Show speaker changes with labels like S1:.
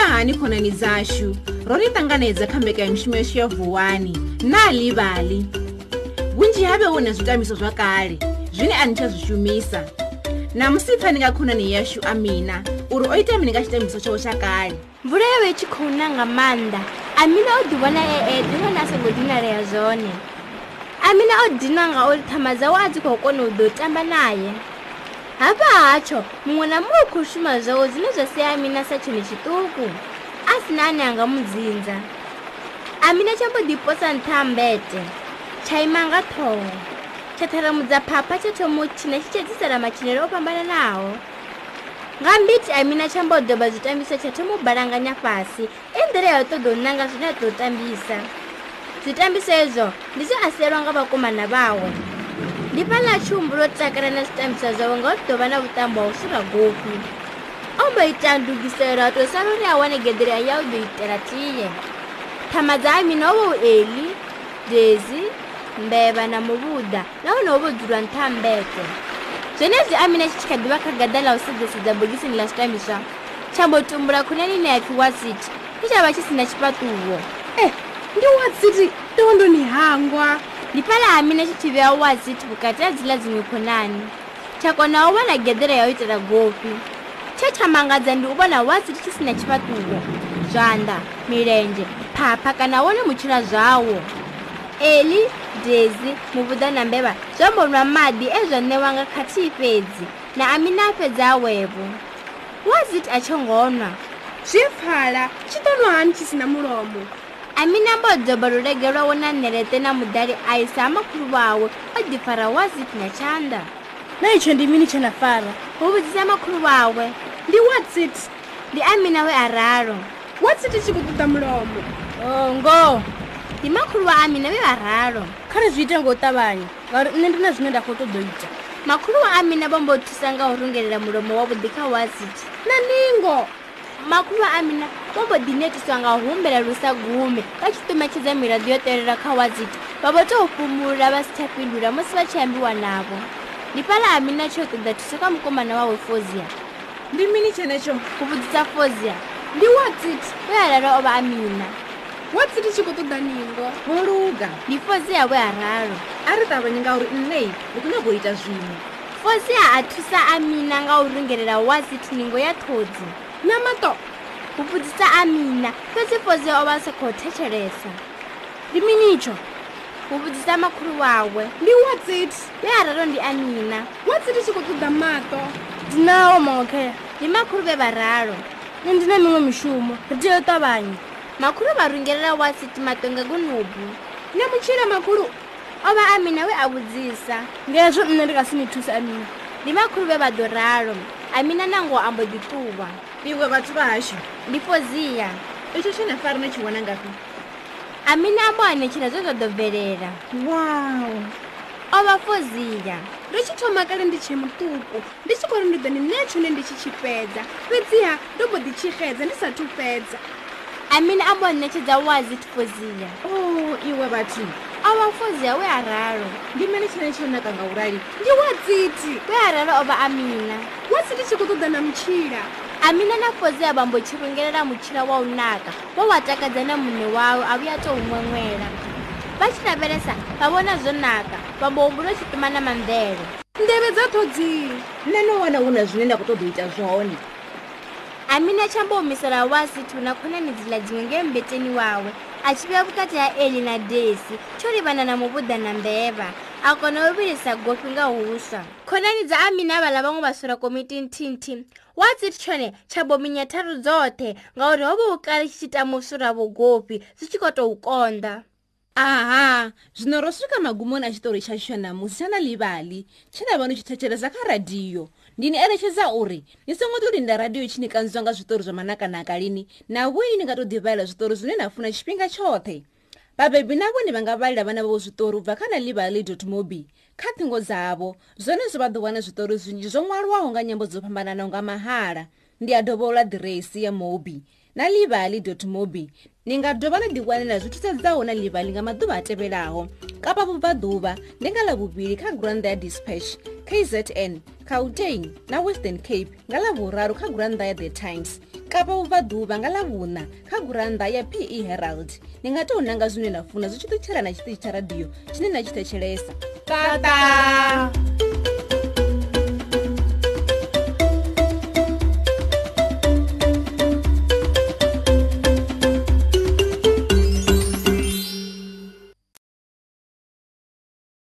S1: tshiṱangani dzashu ro ni ṱanganedza kha mbekanyamushumo yashu ya vuwani na ḽivhali vhunzhi havhe hu na zwitambiso zwa kale zwine a ni tsha zwi shumisa namusi pfani nga khonani yashu amina uri o ita mini nga tshitambiso tshawe tsha kale
S2: mvula yo vha i tshi khou na nga maanḓa amina o ḓivhona e eṱhe nahone a songo dinalea zwone amina o dinwa ngauri ṱhama dzawe a dzi khou kona u ḓo tamba naye hafha hatsho muṅwe na muṅwe u khou shuma zwawe zwine zwa sia amina sa tshone tshiṱuku a sina ane a nga mu dzinza amina tsha mbo ḓiposa nṱha ha mbete tsha ima nga ṱhoho tsha ṱharamudza phapha tsha thoma u tshina tshi tsha ḓisela matshilele o fhambananaho nga mbiti amina tsha mbo doba zwitambiso tsha thoma u balanganya fhasi i nḓila ya u ṱoḓa u ṋanga zwine a ḓo tambisa zwitambiso ezwo ndi zwe a sielwa nga vhakomana vawe ndi fhaḽa tshi humbulo u takala na zwitambiso zwawe nga u ḓo vha na vhuṱambo ha u sura gopi o mbo ita ndugiselo ha tou sala uri a wane geḓela ya u ḓo itela tie ṱhama dza amina o vha u eli dezi mbevha na muvhuḓa nahone ho vha u dzulwa nṱha ha mbete zwenezwi amina tshi tshi kha ḓivha kha gaḓa ḽa u sedzesedza bogisini ḽa zwitambiso tsha mbo tumbula khonani ine ya pfhi wasiti tshi tsha vha tshi si na tshifhaṱuwo
S3: e ndi wasiti ndo ndo ni hangwa
S2: ndi fhaḽa ha mina tshi tshi vhea wasiti vhukati ha dziḽa dziṅwe khonani tsha kona u vhona geḓela ya u itela gofi tshe tsha mangadza ndi u vhona wasiti tshi si na tshifhaṱuwo zwanḓa milenzhe phapha kana wone mutshila zwawo eli dezi muvhuḓa na mbevha zwo mbonwa maḓi e zwa ṋewa nga khathihi fhedzi na amina a fhedza a wevo wazit a tsho ngonwa
S3: zwi pfala tshi ḓo nwa hani tshi si na mulomo
S2: amina mbo doba lulege lwawe na ṋeleṱe na muḓali a isa ha makhulu wawe o ḓifara wazit na tshanḓa
S3: na itsho ndi mini tshe na fara
S2: hu vhudzisa makhulu wawe
S3: ndi wasit
S2: ndi amina we a ralo
S3: wasit tshi khou ṱoḓa mulomo
S4: o ngoho
S2: ndi makhulu wa amina we a ralo
S4: kha ri zwi ite nga u ṱavhanya ngauri nṋe ndi na zwine nda khou ṱoḓa u ita
S2: makhulu wa amina vho mbo thusa nga u rungelela mulomo wavhuḓi kha wazit
S3: na ningo
S2: makhulu a amina vho mbo ḓi netiswa nga u humbela lu sa gume vha tshi ṱumetshedza miraḓo yo telela kha wazit vha vho tou fhumula vha si tsha fhindula musi vha tshi ambiwa navho ndi fhaḽa amina tsho ṱoḓa thuso kha mukomana wawe fozia
S3: ndi mini tshenetsho
S2: ku vhudzisa fozia
S3: ndi wasit
S2: we a lala o vha amina
S3: wasit tshi khou ṱoḓa ningo
S1: ho luga
S2: ndi fozia we a ralo
S1: a ri ṱavhanye ngauri nne ndi khou nyaga u ita zwiṅwe
S2: fozia a thusa amina nga u rungelela wasit ningo ya ṱhodzi
S3: na mato
S2: u vhudzisa amina fhedzi fozia o vha a sa khou thetshelesa
S3: ndi mini itsho
S2: u vhudzisa makhulu wawe
S3: ndi wasit
S2: we a ralo ndi amina
S3: wasit tshi khou ṱoḓa mato
S4: ndinawo maokhea
S2: ndi makhulu vhe vha ralo
S4: nṋe ndi na miṅwe mishumo ri tea u ṱavhanya
S2: makhulu vha rungelela wasit mato nga gunubu
S3: na mutshila makhulu
S2: o vha amina we a vhudzisa
S4: ngezwo nṋe ndi nga si ni thusa amina
S2: ndi makhulu vhe vha ḓo ralo amina nango a mbo ḓi ṱuwa
S1: iwe vhathu vha hashu
S2: ndi fozia
S1: itsho tshe na fara ni tshi wana ngafhi
S2: amina a mbo anetshela zwe zwa ḓo bvelela
S1: wow
S2: o vha fozia
S3: ndo tshi thoma kale ndi tshe muṱuku ndi tshi khori ndi ḓo ni nea tshone ndi tshi tshi fhedza fhedziha ndo mbo ḓi tshixedza ndi sathu fhedza
S2: amina a mbo anetshedza wazit fozia
S1: o Oh, iwe vhathu
S2: o vha fozia we a ralo
S1: ndi mini tshine tsho naka ngaurali
S3: ndi wasiti
S2: we a ralo o vha amina
S3: wasiti tshi khou ṱoḓa na mutshila
S2: amina na fozia vha mbo tshi rungelela mutshila wa u naka wo wa takadza na munne wawe a vhuya tou ṅweṅwela vha tshi lavhelesa vha vhona zwo naka vha mbo humbula u tshi ṱuma na mamvele
S3: ndevhe dza ṱhodzii
S1: nne no wana hu na zwine nda khou ṱoḓa u ita zwone
S2: amina tshambo humisela wasithu na khonani dziḽa dziṅwe nge mbeteni wawe a tshi vhuya vhukati ha eli na desi tsho livhana na muvhuḓa na mbevha a kona u vhilisa gofi nga huswa khonani dza amina vhaḽa vhaṅwe vha sula komiti nthihi watsit tshone tsha bominya tharu dzoṱhe ngauri ho vha hu kale tshi tshi tama u sula vhogofi zwi tshi khou tou konḓa
S1: aha zwino ro swika magumoni a tshitori tsha tsho namusi tsha na ḽivhali tshe nda vha ni tshi thetshelesa kha radiyo ndi ni eletshedza uri ni songo ḓo linda radiyo itshi ni kanzwa nga zwiṱori zwa manakanaka lini na vhoi ni nga tou ḓivhalela zwiṱori zwine na funa tshifhinga tshoṱhe vhabebi na vhone vha nga vhalela vhana vhavho zwiṱori u bva kha na ḽivhali mobi kha ṱhingo dzavho zwone zwo vha ḓo wana zwiṱori zwinzhi zwo ṅwalwaho nga nyambo dzo fhambananaho nga mahala ndi a dovha ola ḓiresi ya mobi na livali mobi ni nga dovha na ḓiwanela zwi thusedzaho na livali nga maḓuvha a tevhelaho kapa vhubvaḓuvha ndi nga ḽavhuvhili kha gurannḓa ya dispatch kzn gauteng na western cape nga ḽavhuraru kha gurannḓa ya the times kapa vhubvaḓuvha nga ḽavhuṋa kha gurannḓa ya pe E herald ni nga tou nanga zwine na funa zwi tshi ṱutshela na tshiṱitshi tsha radio tshine na tshi thetshelesa tata, tata.